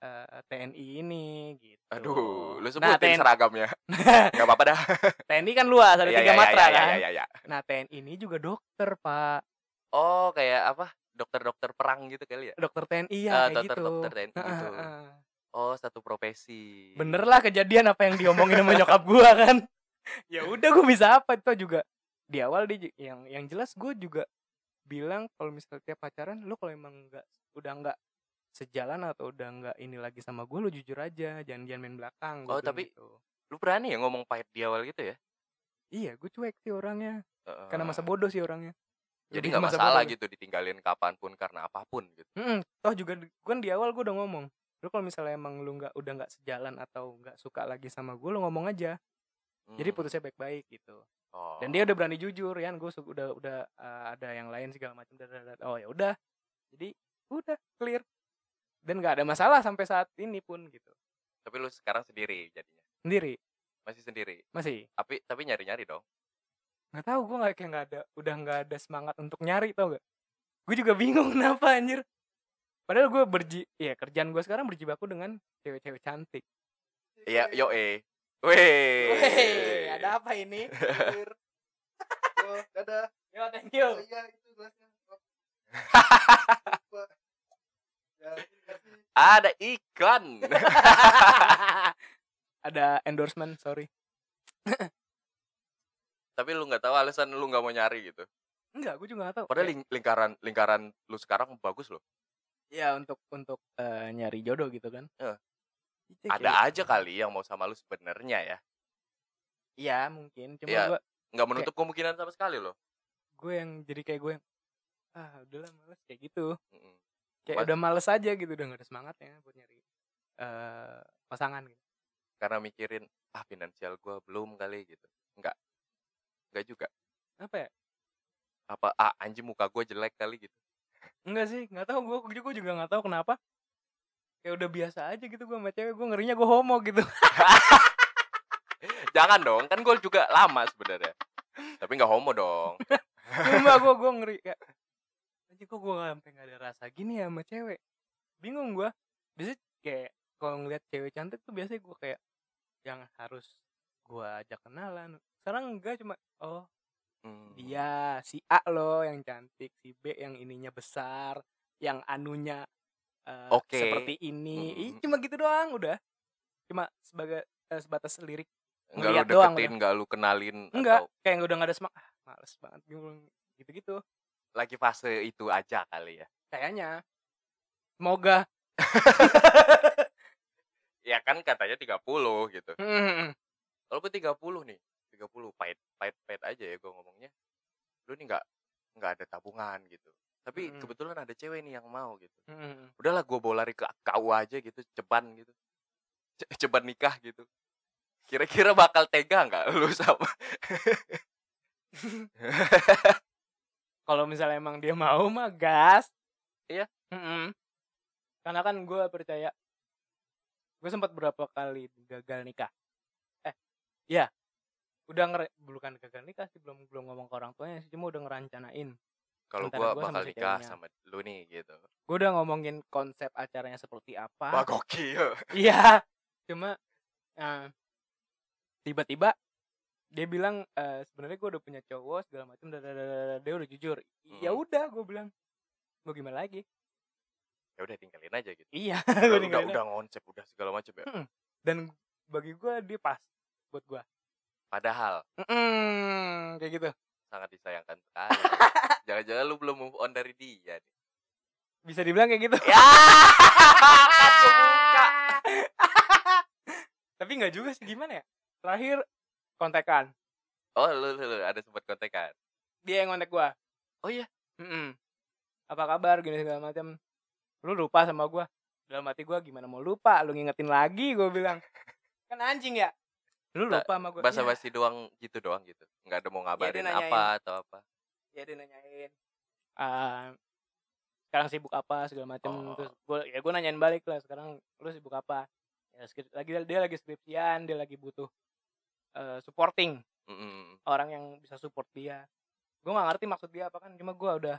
S3: eh, TNI ini gitu.
S2: aduh lu sebutin
S3: Nah, TNI,
S2: seragamnya nggak apa-apa dah
S3: TNI kan luas ada
S2: Iya,
S3: tiga
S2: iya,
S3: matra
S2: iya,
S3: kan.
S2: iya, iya, iya.
S3: Nah TNI ini juga dokter pak,
S2: oh kayak apa dokter-dokter perang gitu kali ya
S3: dokter TNI ya
S2: Ah,
S3: kayak gitu.
S2: dokter-dokter TNI
S3: Nah,
S2: gitu
S3: ah, ah.
S2: oh satu profesi
S3: Bener lah kejadian apa yang diomongin sama nyokap gua kan. ya udah gue bisa apa itu juga di awal dia ju- yang yang jelas gue juga bilang kalau misalnya tiap pacaran lu kalau emang nggak udah nggak sejalan atau udah nggak ini lagi sama gue lu jujur aja jangan jangan main belakang
S2: Oh,
S3: gua bilang
S2: tapi-
S3: gitu.
S2: lu berani ya ngomong pahit di awal gitu ya
S3: Iya, gue cuek sih orangnya.
S2: Heeh.
S3: Karena masa bodoh sih orangnya.
S2: Ah. jadi
S3: Lebih
S2: nggak
S3: masa
S2: masalah
S3: bodoh.
S2: gitu ditinggalin kapanpun karena apapun gitu
S3: Mm-mm. Toh juga di- kan di awal gue udah ngomong. Lu kalau misalnya emang lu nggak udah nggak sejalan atau nggak suka lagi sama gue, lu ngomong aja.
S2: Hmm.
S3: Jadi putusnya baik-baik gitu.
S2: Oh.
S3: Dan dia udah berani jujur, ya. Gue udah udah uh, ada yang lain segala macam. Oh ya udah. Jadi udah clear. Dan nggak ada masalah sampai saat ini pun gitu.
S2: tapi lu sekarang sendiri jadinya
S3: Sendiri
S2: masih sendiri
S3: masih.
S2: tapi tapi nyari nyari dong
S3: Nggak tahu gue nggak kayak nggak ada. Udah nggak ada semangat untuk nyari tau gak? Gue juga bingung kenapa anjir. Padahal gue berji, ya kerjaan gue sekarang berjibaku dengan cewek-cewek cantik.
S2: iya yo eh Weh.
S3: Weh, ada apa ini?
S4: Oh, iya. dadah.
S3: Yo, thank you.
S4: Oh, iya, itu gelasnya. Oh. Lupa. Ya, terima kasih.
S2: Ada ikan.
S3: ada endorsement, sorry.
S2: Tapi lu nggak tahu alasan lu nggak mau nyari gitu.
S3: Enggak, gue juga nggak tahu.
S2: Padahal ling- lingkaran lingkaran lu sekarang bagus loh.
S3: ya untuk untuk eh, nyari jodoh gitu kan.
S2: Eh.
S3: Iya, kayak-
S2: Ada aja kali yang mau sama lu sebenarnya ya.
S3: Iya, mungkin. Cuma
S2: Iya.
S3: gue
S2: Nggak menutup kemungkinan sama sekali loh.
S3: gue yang jadi kayak gue yang ah udahlah males kayak gitu.
S2: Mm-mm.
S3: Kayak
S2: Mas-
S3: udah males aja gitu, udah gak ada semangatnya buat nyari eh pasangan gitu.
S2: Karena mikirin ah finansial gua belum kali gitu. Enggak. Enggak juga.
S3: Apa ya?
S2: Apa ah anjing muka gua jelek kali gitu.
S3: Enggak sih, nggak tahu gue juga gue juga nggak tahu kenapa. Kayak udah biasa aja gitu gue sama cewek, gue ngerinya gue homo gitu.
S2: Jangan dong, kan gua juga lama sebenarnya. Tapi nggak homo dong.
S3: Sumpah gue gue ngeri kayak anjing kok gue sampai nggak ada rasa gini ya sama cewek. Bingung gue. Biasanya kayak kalau ngeliat cewek cantik tuh biasanya gue kayak yang harus gue ajak kenalan. Sekarang enggak cuma oh
S2: Hmm.
S3: dia Iya, si A loh yang cantik, si B yang ininya besar, yang anunya eh,
S2: Oke.
S3: seperti ini.
S2: Mm.
S3: Ih, cuma gitu doang udah. Cuma sebagai eh, sebatas lirik
S2: Enggak lu
S3: ngeliat doang
S2: deketin, enggak lu kenalin
S3: enggak
S2: atau
S3: kayak udah nggak ada semangat ah, males banget gitu-gitu
S2: lagi fase itu aja kali ya.
S3: kayaknya semoga
S2: Ya kan katanya 30 gitu.
S3: Hmm.
S2: Kalau gue 30 nih, 30 pahit pahit pahit aja ya gue ngomongnya. Lu nih nggak nggak ada tabungan gitu. Tapi
S3: Mm-mm.
S2: kebetulan ada cewek nih yang mau gitu. Udahlah gue bawa lari ke KU aja gitu, ceban gitu. Ce- ceban nikah gitu. Kira-kira bakal tega nggak lu sama?
S3: Kalau misalnya emang dia mau mah gas.
S2: Iya.
S3: Mm-mm. Karena kan gue percaya. Gue sempat berapa kali gagal nikah. Eh, iya. Udah ngere bukan gagal nikah sih belum belum ngomong ke orang tuanya sih cuma udah ngerancanain.
S2: Kalau
S3: Antara
S2: gue
S3: gua sama
S2: bakal
S3: si
S2: nikah
S3: ceweknya.
S2: sama ya? lu nih gitu. Ah.
S3: Gue udah ngomongin konsep acaranya seperti
S2: Wah
S3: apa.
S2: gokil.
S3: Iya. Cuma eh, tiba-tiba dia bilang "Eh, sebenarnya gue udah punya cowok segala macam dadadadadada." dia udah jujur ya
S2: Mm.
S3: udah gue bilang mau gimana lagi
S2: ya udah tinggalin aja gitu
S3: iya
S2: udah,
S3: gue
S2: udah, udah ngonsep udah segala macam ya
S3: dan bagi gue dia pas buat gue
S2: padahal
S3: Mm-mm, kayak gitu
S2: sangat disayangkan sekali ya. jangan-jangan lu belum move on dari dia nih.
S3: bisa dibilang kayak gitu
S2: ya kebuka
S3: tapi nggak juga sih gimana ya terakhir kontekan
S2: oh lu, lu, lu ada sempat kontekan
S3: dia yang kontak gue
S2: Oh iya?
S3: Mm-mm. apa kabar gini segala macam lu lupa sama gue dalam hati gue gimana mau lupa lu ngingetin lagi gue bilang kan anjing ya lu
S2: Ba-
S3: lupa sama Iya. gue
S2: bahasa basi doang gitu doang gitu nggak ada mau ngabarin
S3: nanyain.
S2: apa atau apa
S3: ya dia nanyain "Ah, sekarang sibuk apa segala
S2: Oh.
S3: macam terus gue ya gue nanyain balik lah sekarang lu sibuk apa ya skri- lagi dia lagi skripsian dia lagi butuh eh, supporting
S2: Mm-mm.
S3: orang yang bisa support dia gue nggak ngerti maksud dia apa kan cuma gue udah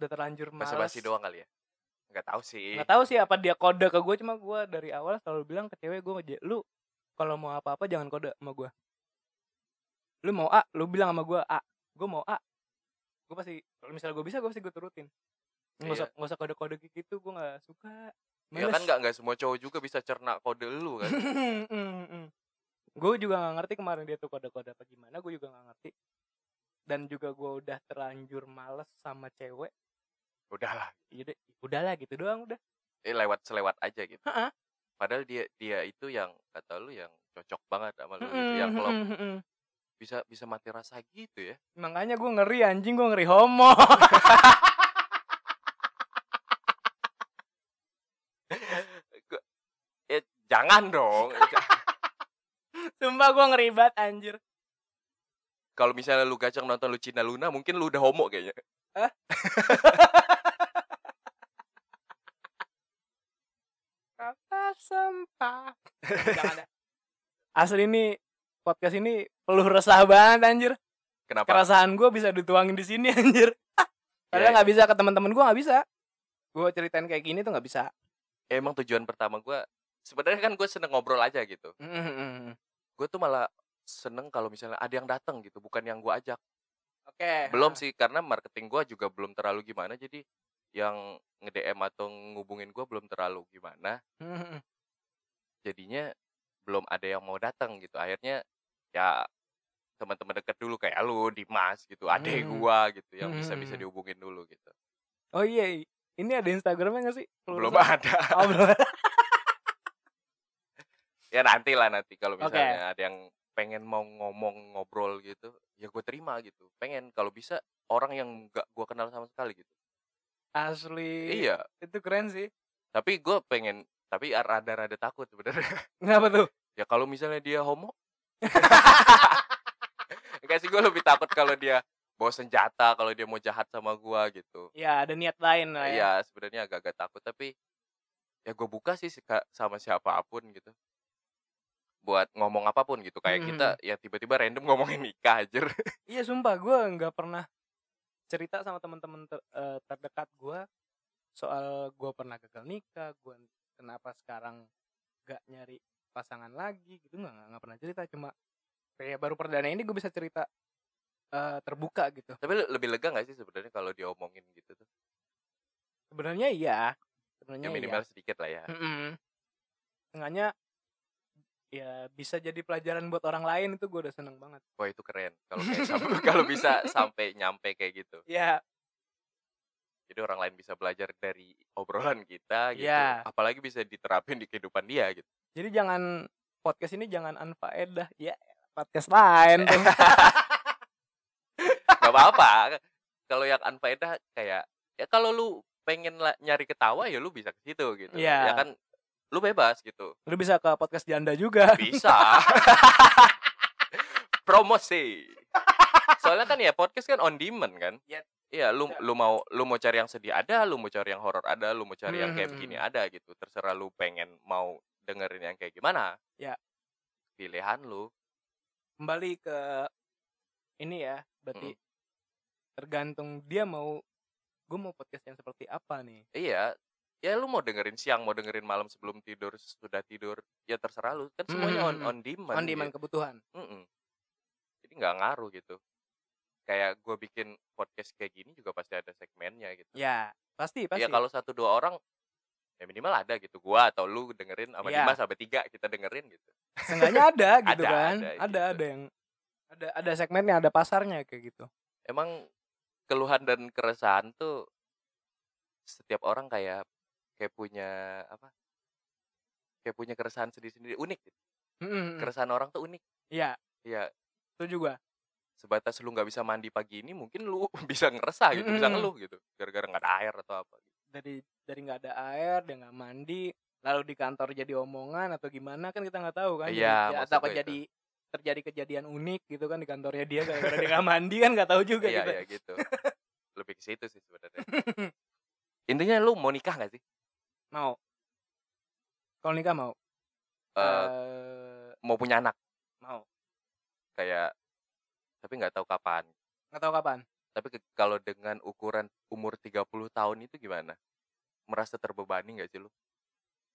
S3: udah terlanjur
S2: bahasa
S3: males.
S2: basi doang kali ya nggak tahu sih
S3: nggak tahu sih apa dia kode ke gue cuma gue dari awal selalu bilang ke cewek gue lu kalau mau apa-apa jangan kode sama gue lu mau A lu bilang sama gue A gue mau A gue pasti kalau misalnya gue bisa gue pasti gue turutin nggak usah nggak usah kode-kode kayak gitu gue nggak suka
S2: ya Iya. kan nggak nggak semua cowok juga bisa cerna kode lu kan
S3: gue juga nggak ngerti kemarin dia tuh kode-kode apa gimana gue juga nggak ngerti dan juga gue udah terlanjur males sama cewek
S2: udahlah
S3: jadi udahlah gitu doang udah
S2: eh lewat selewat aja gitu
S3: Ha-ha.
S2: padahal dia dia itu yang kata lu yang cocok banget sama lu gitu. yang kalau bisa bisa mati rasa gitu ya
S3: Makanya gue ngeri anjing, gue ngeri homo.
S2: Gua- eh jangan dong
S3: Sumpah gue ngeri banget anjir.
S2: kalau misalnya lu gacang nonton Lucina Luna mungkin lu udah homo kayaknya
S3: Kata sampah. Jangan ya. ada. Asli ini podcast ini peluh resah banget anjir.
S2: kenapa
S3: Keresahan gue bisa dituangin di sini anjir.
S2: Ya,
S3: Padahal nggak bisa ke teman-teman gue nggak bisa. Gue ceritain kayak gini tuh nggak bisa.
S2: Eh, emang tujuan pertama gua sebenarnya kan gue seneng ngobrol aja gitu gue tuh malah seneng kalau misalnya ada yang datang gitu bukan yang gua ajak
S3: Oke.
S2: belum sih karena marketing gua juga belum terlalu gimana jadi yang nge DM atau ngubungin gua belum terlalu gimana jadinya belum ada yang mau datang gitu akhirnya ya teman-teman deket dulu kayak lu Dimas gitu adek
S3: Hmm.
S2: gua gitu yang bisa bisa
S3: Hmm.
S2: dihubungin dulu gitu
S3: Oh iya, ini ada Instagramnya nggak sih? Peluh
S2: belum
S3: resah.
S2: ada
S3: Oh, belum.
S2: ya nanti lah nanti kalau
S3: Oke.
S2: misalnya ada yang pengen mau ngomong ngobrol gitu ya gue terima gitu pengen kalau bisa orang yang gak gua kenal sama sekali gitu
S3: Asli.
S2: iya
S3: Itu keren sih.
S2: tapi gue pengen tapi rada-rada takut sebenarnya
S3: Kenapa tuh?
S2: ya kalau misalnya dia homo enggak sih gue lebih takut kalau dia bawa senjata kalau dia mau jahat sama gua gitu
S3: Ya ada niat lain lah ya.
S2: Iya, sebenarnya agak-agak takut tapi ya gue buka sih seka- sama siapapun gitu. Buat ngomong apapun gitu kayak
S3: Hmm.
S2: kita ya tiba-tiba random ngomongin nikah aja.
S3: Iya sumpah gue nggak pernah cerita sama teman-teman ter- eh, terdekat gue soal gue pernah gagal nikah, gue kenapa sekarang gak nyari pasangan lagi gitu nggak nggak- nggak pernah cerita cuma kayak baru perdana ini gue bisa cerita eh, terbuka gitu.
S2: tapi le- lebih lega gak sih sebenarnya kalau diomongin gitu tuh?
S3: Sebenarnya iya,
S2: Ya
S3: sebenarnya
S2: minimal sedikit lah ya.
S3: Iya. Mm-mm. Setengahnya, ya bisa jadi pelajaran buat orang lain itu gue udah seneng banget.
S2: Wah, itu keren kalau kayak sam- kalau bisa sampai nyampe kayak gitu.
S3: Ya
S2: Jadi orang lain bisa belajar dari obrolan kita gitu.
S3: Iya.
S2: Apalagi bisa diterapin di kehidupan dia gitu.
S3: Jadi jangan podcast ini jangan anfaedah. Ya podcast lain tuh.
S2: Gak apa-apa. Kalau yang unfaedah kayak ya kalau lu pengen la- nyari ketawa ya lu bisa ke situ gitu.
S3: Iya.
S2: Ya kan lu bebas gitu.
S3: Lu bisa ke podcast janda juga.
S2: Bisa. Promosi. Soalnya kan ya podcast kan on demand kan.
S3: Iya.
S2: Iya, lu
S3: Iya.
S2: lu mau lu mau cari yang sedih ada, lu mau cari yang horor ada, lu mau cari yang kayak
S3: Hmm.
S2: begini ada gitu. Terserah lu pengen mau dengerin yang kayak gimana.
S3: Iya.
S2: Pilihan lu.
S3: Kembali ke ini ya, berarti tergantung dia mau gue mau podcast yang seperti apa nih.
S2: Iya, ya lu mau dengerin siang mau dengerin malam sebelum tidur sudah tidur ya terserah lu kan semuanya on
S3: Mm.
S2: on demand
S3: on demand kebutuhan
S2: gitu. Mm-mm. jadi nggak ngaruh gitu kayak gue bikin podcast kayak gini juga pasti ada segmennya gitu
S3: ya pasti pasti
S2: ya kalau satu dua orang ya minimal ada gitu gua atau lu dengerin sama
S3: Iya.
S2: Dimas sama tiga kita dengerin gitu
S3: Seenggaknya ada gitu
S2: Ada,
S3: kan
S2: ada
S3: ada ada,
S2: gitu.
S3: yang ada ada segmennya ada pasarnya kayak gitu
S2: emang keluhan dan keresahan tuh setiap orang kayak kayak punya apa kayak punya keresahan sendiri-sendiri unik gitu.
S3: Mm-mm.
S2: keresahan orang tuh unik
S3: Iya
S2: ya
S3: itu juga
S2: sebatas lu nggak bisa mandi pagi ini mungkin lu bisa ngeresah gitu bisa
S3: Mm-mm.
S2: ngeluh gitu gara-gara nggak ada air atau apa gitu.
S3: dari dari nggak ada air dia nggak mandi lalu di kantor jadi omongan atau gimana kan kita nggak tahu kan
S2: Iya,
S3: Jadi-
S2: maksud
S3: atau
S2: gua
S3: kok jadi terjadi kejadian unik gitu kan di kantornya dia gara-gara dia nggak mandi kan nggak tahu juga
S2: iya
S3: kita.
S2: iya gitu lebih ke situ sih sebenarnya intinya lu mau nikah nggak sih
S3: mau kalau nikah mau
S2: Eh,
S3: Eh,
S2: mau punya anak
S3: mau
S2: kayak tapi nggak tahu kapan
S3: nggak tahu kapan
S2: tapi ke- kalau dengan ukuran umur 30 tahun itu gimana merasa terbebani nggak sih lu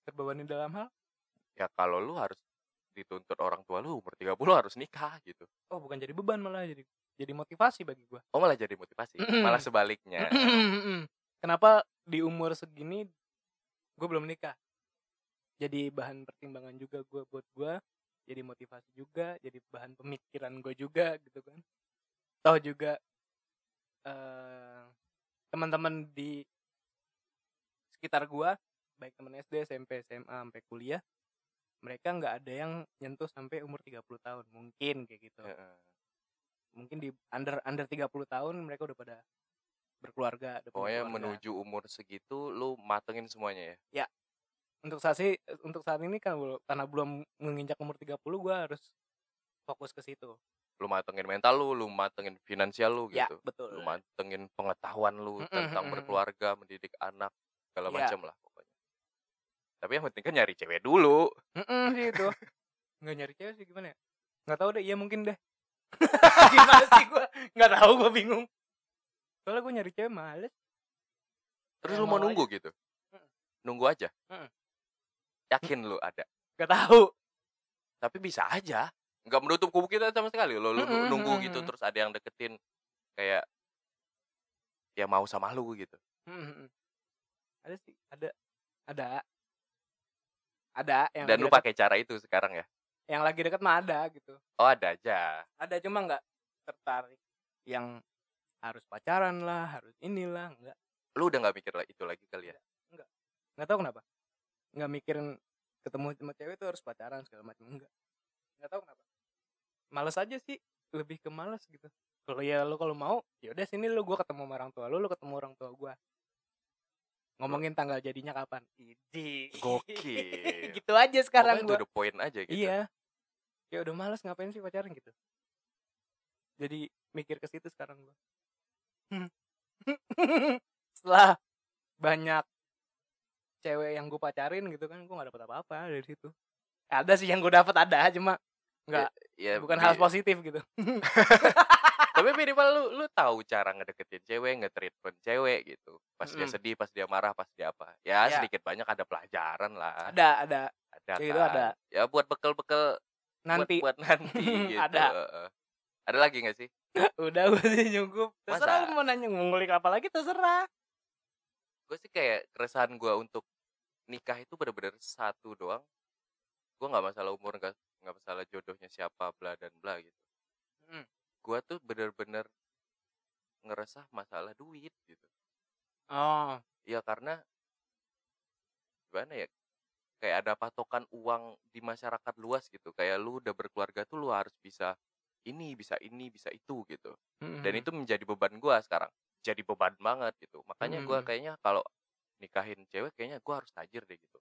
S3: terbebani dalam hal
S2: ya kalau lu harus dituntut orang tua lu umur 30 harus nikah gitu
S3: oh bukan jadi beban malah jadi jadi motivasi bagi gua
S2: oh malah jadi motivasi
S3: Mm-mm.
S2: malah sebaliknya
S3: kenapa di umur segini gue belum nikah jadi bahan pertimbangan juga gue buat gue jadi motivasi juga jadi bahan pemikiran gue juga gitu kan tahu juga eh, teman-teman di sekitar gue baik teman SD SMP SMA sampai kuliah mereka nggak ada yang nyentuh sampai umur 30 tahun mungkin kayak gitu
S2: Heeh.
S3: mungkin di under under 30 tahun mereka udah pada berkeluarga udah
S2: pokoknya
S3: punya keluarga.
S2: Oh, iya, menuju umur segitu lu matengin semuanya ya
S3: untuk saat sih untuk saat ini kan bel- karena belum menginjak umur 30 gua harus fokus ke situ
S2: lu matengin mental lu lu matengin finansial lu
S3: ya
S2: gitu
S3: betul
S2: lu matengin pengetahuan lu
S3: Mm-mm,
S2: tentang
S3: mm-mm.
S2: berkeluarga mendidik anak segala
S3: Iya.
S2: macam lah pokoknya tapi yang penting kan nyari cewek dulu
S3: Mm-mm, sih itu nggak nyari cewek sih gimana ya nggak tahu deh iya mungkin deh gimana sih gua nggak tahu gua bingung soalnya gua nyari cewek males
S2: terus lu
S3: Ya,
S2: mau
S3: mau
S2: nunggu gitu
S3: Mm.
S2: nunggu aja
S3: Mm.
S2: yakin lu ada
S3: nggak tahu
S2: tapi bisa aja nggak menutup kubu kita sama sekali lo lu
S3: Mm-mm,
S2: nunggu
S3: mm-mm.
S2: gitu terus ada yang deketin kayak ya mau sama lu gitu
S3: Mm-mm. ada sih ada ada ada yang
S2: dan
S3: lagi
S2: lu
S3: deket-
S2: pakai cara itu sekarang ya
S3: yang lagi deket mah ada gitu
S2: oh ada aja
S3: ada cuma nggak tertarik yang harus pacaran lah harus inilah nggak
S2: lu udah nggak mikir lah itu lagi kali ya
S3: nggak tahu kenapa nggak mikirin ketemu sama cewek tuh harus pacaran segala macam enggak nggak tahu kenapa males aja sih lebih ke males gitu kalau ya lu kalau mau ya udah sini lu gua ketemu sama orang tua lu lu ketemu orang tua gua ngomongin tanggal jadinya kapan idi
S2: Gokil.
S3: gitu aja sekarang
S2: Pokoknya
S3: gua
S2: to the point aja gitu
S3: Iya. Ya udah males ngapain sih pacaran gitu. Jadi mikir ke situ sekarang gua. Setelah banyak cewek yang gue pacarin gitu kan gua gak dapet apa-apa dari situ. Ada sih yang gue dapet ada cuma
S2: Ya,
S3: bukan
S2: bi-
S3: hal positif gitu.
S2: tapi minimal lu lu tahu cara ngedeketin cewek ngetreatment cewek gitu pas dia
S3: Mm-mm.
S2: sedih pas dia marah pas dia apa ya
S3: Iya.
S2: sedikit banyak ada pelajaran lah
S3: Ada ada
S2: ada
S3: kayak gitu ada.
S2: ya buat bekal-bekal
S3: nanti
S2: buat, buat nanti gitu
S3: Ada.
S2: Heeh. ada lagi nggak sih
S3: udah udah cukup. Terserah
S2: Masa?
S3: lu mau nanya mau ngulik apa lagi terserah.
S2: gue sih kayak keresahan gue untuk nikah itu bener-bener satu doang gue nggak masalah umur nggak nggak masalah jodohnya siapa bla dan bla gitu
S3: Mm.
S2: gue tuh bener-bener ngeresah masalah duit gitu
S3: Oh,
S2: ya karena gimana ya kayak ada patokan uang di masyarakat luas gitu kayak lu udah berkeluarga tuh lu harus bisa ini bisa ini bisa itu gitu dan
S3: Hmm.
S2: itu menjadi beban gua sekarang jadi beban banget gitu makanya gua
S3: Mm.
S2: kayaknya kalau nikahin cewek kayaknya gua harus tajir deh gitu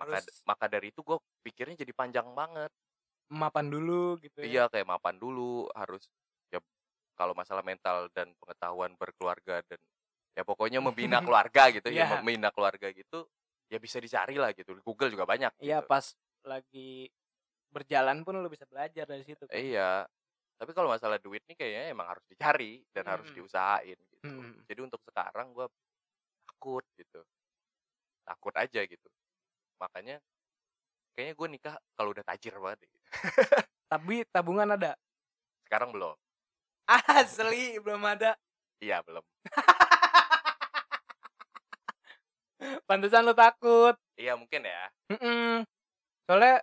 S2: maka
S3: Harus-
S2: maka dari itu gua pikirnya jadi panjang banget
S3: mapan dulu gitu ya.
S2: iya kayak mapan dulu harus ya kalau masalah mental dan pengetahuan berkeluarga dan ya pokoknya membina keluarga gitu ya
S3: Iya.
S2: membina keluarga gitu ya bisa dicari lah gitu Di Google juga banyak
S3: Iya
S2: gitu.
S3: pas lagi berjalan pun lu bisa belajar dari situ. kan.
S2: iya tapi kalau masalah duit nih kayaknya emang harus dicari dan harus
S3: Mm.
S2: diusahain gitu
S3: Mm.
S2: jadi untuk sekarang gua takut gitu takut aja gitu makanya kayaknya gue nikah kalau udah tajir banget deh. gitu.
S3: Tapi tabungan ada.
S2: sekarang belum
S3: Asli belum ada.
S2: iya belum
S3: Pantesan lu takut.
S2: iya mungkin ya
S3: Mm-mm. Soalnya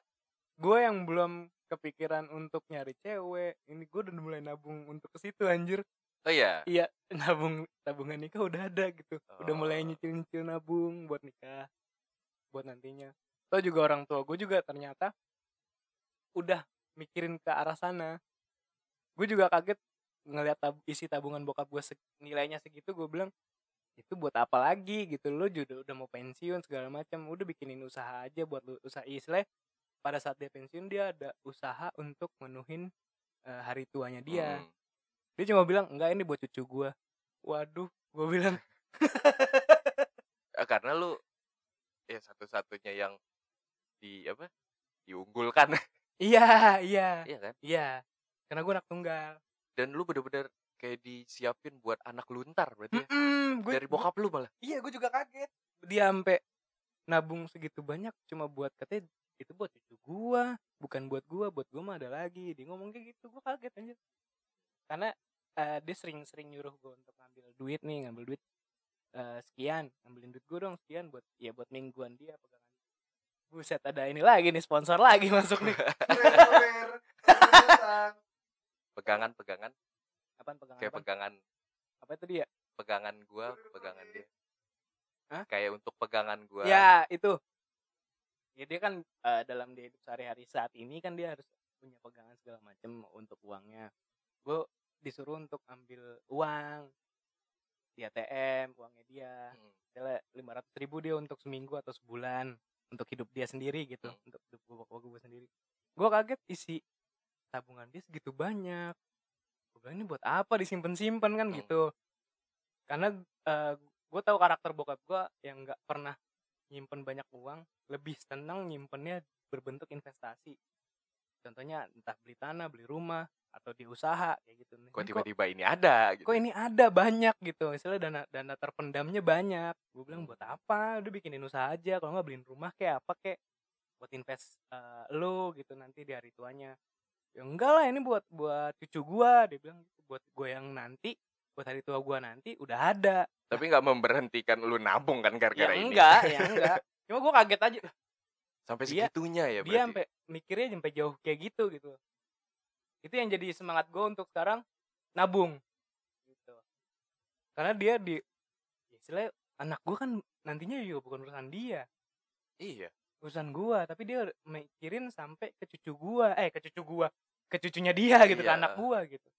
S3: gue yang belum kepikiran untuk nyari cewek. Ini gue udah mulai nabung untuk ke situ anjir.
S2: oh iya
S3: Iya, nabung tabungan nikah udah ada gitu. Udah mulai
S2: Oh.
S3: nyicil-nyicil nabung buat nikah. Buat nantinya. Lo juga orang tua gue juga ternyata udah mikirin ke arah sana. Gue juga kaget ngelihat tab- isi tabungan bokap gue nilainya segitu gue bilang itu buat apa lagi gitu lo juga udah mau pensiun segala macam udah bikinin usaha aja buat lu usaha istilah pada saat dia pensiun dia ada usaha untuk menuhin eh, hari tuanya dia
S2: Hmm.
S3: dia cuma bilang enggak ini buat cucu gua waduh gue bilang
S2: Eh, karena lu ya satu-satunya yang di apa diunggulkan
S3: iya iya
S2: iya kan
S3: iya karena gue anak tunggal
S2: dan lu bener-bener kayak disiapin buat anak luntar
S3: Iya. Hmm,
S2: berarti ya.
S3: Mm-mm, gua-
S2: dari bokap lu malah
S3: iya gue juga kaget dia sampai nabung segitu banyak cuma buat katanya itu buat cucu gua bukan buat gua buat gua mah ada lagi dia ngomong kayak gitu gue kaget anjir karena eh, dia sering-sering nyuruh gue untuk ngambil duit nih ngambil duit eh, sekian ngambilin duit gue dong sekian buat ya buat mingguan dia pegangan buset ada ini lagi nih sponsor lagi masuk nih
S4: Traveler, datang.
S2: pegangan-pegangan
S3: Apaan pegangan?
S2: kayak
S3: apaan?
S2: pegangan
S3: Apa itu dia?
S2: pegangan gua pegangan dia
S3: Hah?
S2: kayak untuk pegangan gua
S3: Ya, itu. Ya dia kan eh, dalam dia hidup sehari-hari saat ini kan dia harus punya pegangan segala macam untuk uangnya. Gue disuruh untuk ambil uang di ATM, uangnya dia.
S2: Hmm.
S3: Misalnya 500 ribu dia untuk seminggu atau sebulan untuk hidup dia sendiri gitu,
S2: Hmm.
S3: untuk hidup gue gue sendiri. Gue kaget isi tabungan dia segitu banyak. Gue bilang ini buat apa disimpan-simpan kan
S2: Hmm.
S3: gitu. Karena gue tahu karakter bokap gue yang nggak pernah nyimpen banyak uang, lebih senang nyimpennya berbentuk investasi. Contohnya entah beli tanah, beli rumah, atau di usaha kayak gitu. Ini
S2: kok tiba-tiba ini ada gitu
S3: kok ini ada banyak gitu misalnya dana dana terpendamnya banyak gue bilang buat apa udah bikinin usaha aja kalau nggak beliin rumah kayak apa kayak buat invest eh, lo gitu nanti di hari tuanya ya enggak lah ini buat buat cucu gua dia bilang gitu. buat gue yang nanti buat hari tua gua nanti udah ada
S2: tapi nggak memberhentikan lu nabung kan
S3: ya
S2: gara-gara ini
S3: enggak ya enggak cuma gue kaget aja
S2: sampai
S3: Dia-
S2: segitunya ya
S3: dia
S2: berarti
S3: sampai mikirnya sampai jauh kayak gitu gitu itu yang jadi semangat gue untuk sekarang nabung gitu karena dia di ya istilahnya anak gue kan nantinya juga bukan urusan dia
S2: iya
S3: urusan gue tapi dia mikirin sampai ke cucu gue eh ke cucu gue ke cucunya dia gitu ke
S2: Iya.
S3: anak gue gitu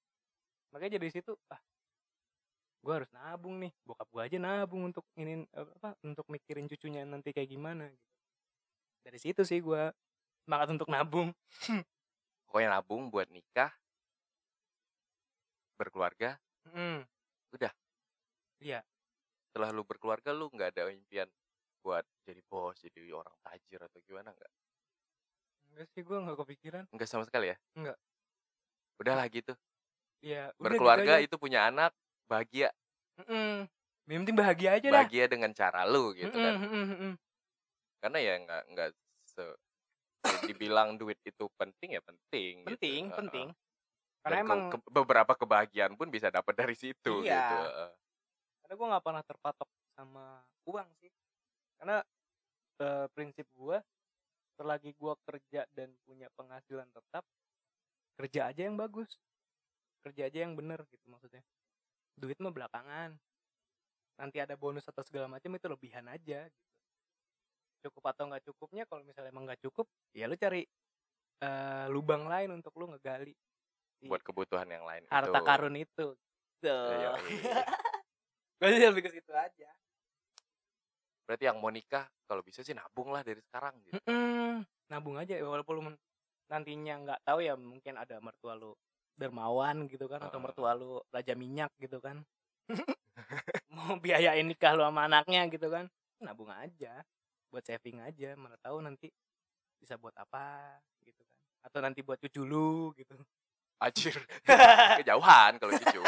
S3: makanya jadi situ ah gue harus nabung nih bokap gue aja nabung untuk ini apa untuk mikirin cucunya nanti kayak gimana gitu dari situ sih gue semangat untuk nabung
S2: pokoknya nabung buat nikah berkeluarga
S3: Mm.
S2: setelah lu berkeluarga lu nggak ada impian buat jadi bos jadi orang tajir atau gimana nggak
S3: Enggak sih gue nggak kepikiran.
S2: nggak sama sekali ya
S3: Nggak.
S2: udahlah gitu
S3: Ya udah
S2: berkeluarga
S3: gitu aja.
S2: itu punya anak bahagia
S3: Mm-mm. Yang penting bahagia aja Iya dah.
S2: bahagia dengan cara lu gitu kan
S3: Mm-mm, mm-mm, mm-mm.
S2: karena ya nggak nggak se ya dibilang duit itu penting ya penting gitu.
S3: Penting,
S2: Heeh.
S3: penting.
S2: Dan
S3: Karena
S2: ke-
S3: emang
S2: ke- beberapa kebahagiaan pun bisa dapat dari situ
S3: Iya.
S2: gitu heeh.
S3: karena gue nggak pernah terpatok sama uang sih. Karena eh, prinsip gue selagi gue kerja dan punya penghasilan tetap kerja aja yang bagus kerja aja yang bener gitu maksudnya duit mah belakangan nanti ada bonus atau segala macam itu lebihan aja gitu. cukup atau nggak cukupnya kalau misalnya emang nggak cukup ya lu cari eh, lubang lain untuk lu ngegali Iya.
S2: buat kebutuhan yang lain
S3: harta
S2: itu.
S3: karun itu
S2: Iya,
S3: tuh
S2: iya.
S3: gue sih lebih ke situ aja
S2: berarti yang mau nikah kalau bisa sih nabung lah dari sekarang gitu
S3: Hmm. Mm-mm. nabung aja ya, walaupun lu men- nantinya nggak tahu ya mungkin ada mertua lu dermawan gitu kan atau
S2: Heeh.
S3: mertua lu raja minyak gitu kan mau biayain nikah lu sama anaknya gitu kan nabung aja buat saving aja mana tahu nanti bisa buat apa gitu kan atau nanti buat cucu lu gitu
S2: Ajir. gitu. Kejauhan kalau cucu.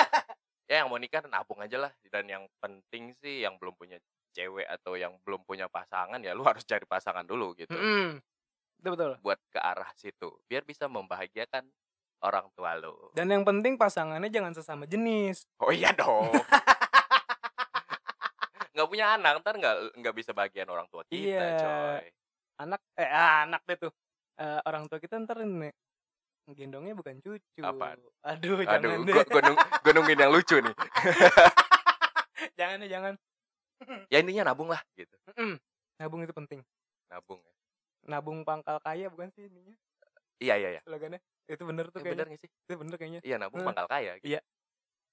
S2: ya yang mau nikah nabung aja lah dan yang penting sih yang belum punya cewek atau yang belum punya pasangan ya lu harus cari pasangan dulu gitu
S3: Mm-mm. Itu betul.
S2: buat ke arah situ biar bisa membahagiakan orang tua lo
S3: Dan yang penting pasangannya jangan sesama jenis.
S2: oh iya dong nggak punya anak ntar nggak nggak bisa bagian orang tua kita
S3: Iya.
S2: coy
S3: Anak eh ah, anak deh tuh. Eh, orang tua kita ntar nih gendongnya bukan cucu.
S2: Apaan? aduh
S3: Aduh, jangan deh.
S2: gua, gua, nung- gua nungguin yang lucu nih
S3: jangan deh, jangan.
S2: ya intinya nabung lah gitu
S3: Mm-mm. Nabung itu penting.
S2: nabung ya
S3: Nabung pangkal kaya bukan sih ininya
S2: iya iya iya
S3: slogannya. Itu bener tuh
S2: Eh,
S3: kayaknya.
S2: bener nggak sih
S3: Itu bener kayaknya.
S2: iya nabung
S3: Eh.
S2: pangkal kaya gitu.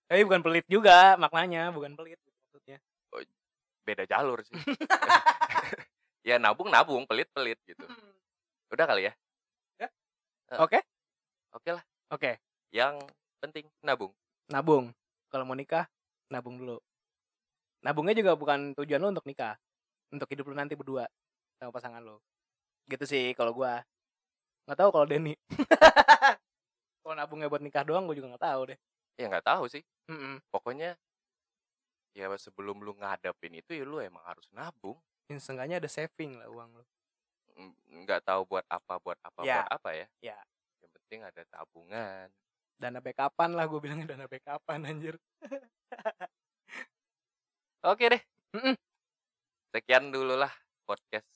S3: Tapi bukan pelit juga maknanya, bukan pelit maksudnya.
S2: beda jalur sih ya nabung nabung pelit pelit gitu udah kali ya
S3: Hmm.
S2: Eh.
S3: Oke?
S2: oke lah
S3: Oke.
S2: yang penting nabung
S3: nabung. Kalau mau nikah, nabung dulu. Nabungnya juga bukan tujuan lo untuk nikah. Untuk hidup lo nanti berdua sama pasangan lo. Gitu sih kalau gua. Nggak tahu kalau Denny. kalau nabungnya buat nikah doang gue juga nggak tahu deh.
S2: ya nggak tahu sih
S3: Mm-mm.
S2: pokoknya ya sebelum lu ngadepin itu ya lu emang harus nabung
S3: Ya, seenggaknya ada saving lah uang lo.
S2: Mm, nggak tahu buat apa buat apa
S3: Ya.
S2: buat apa ya
S3: Ya.
S2: yang penting ada tabungan
S3: Dana backupan lah gue bilangnya dana backupan anjir.
S2: oke deh
S3: Mm-mm.
S2: sekian dulu lah podcast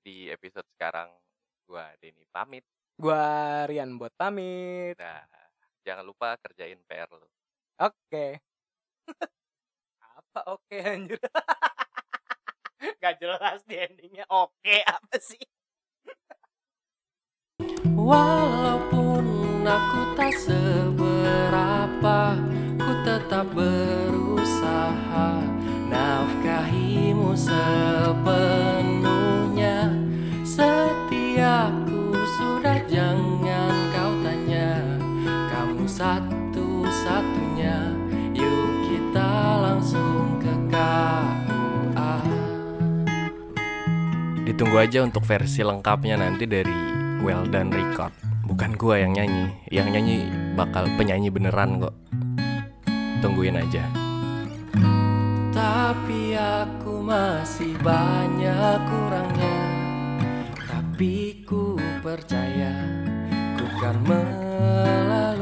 S2: di episode sekarang gua Denny pamit
S3: Gua Rian buat pamit.
S2: nah jangan lupa kerjain PR lu
S3: Oke. apa oke anjir? Gak jelas di endingnya. Oke apa sih?
S1: Walaupun aku tak seberapa Ku tetap berusaha Nafkahimu sepenuhnya Setiaku sudah jangan kau tanya Kamu satu-satunya Yuk kita langsung ke KUA Ditunggu aja untuk versi lengkapnya nanti dari Well Done Record. Bukan gua yang nyanyi, yang nyanyi bakal penyanyi beneran kok. Tungguin aja. Tapi aku masih banyak kurangnya. Tapi ku percaya ku kan melalui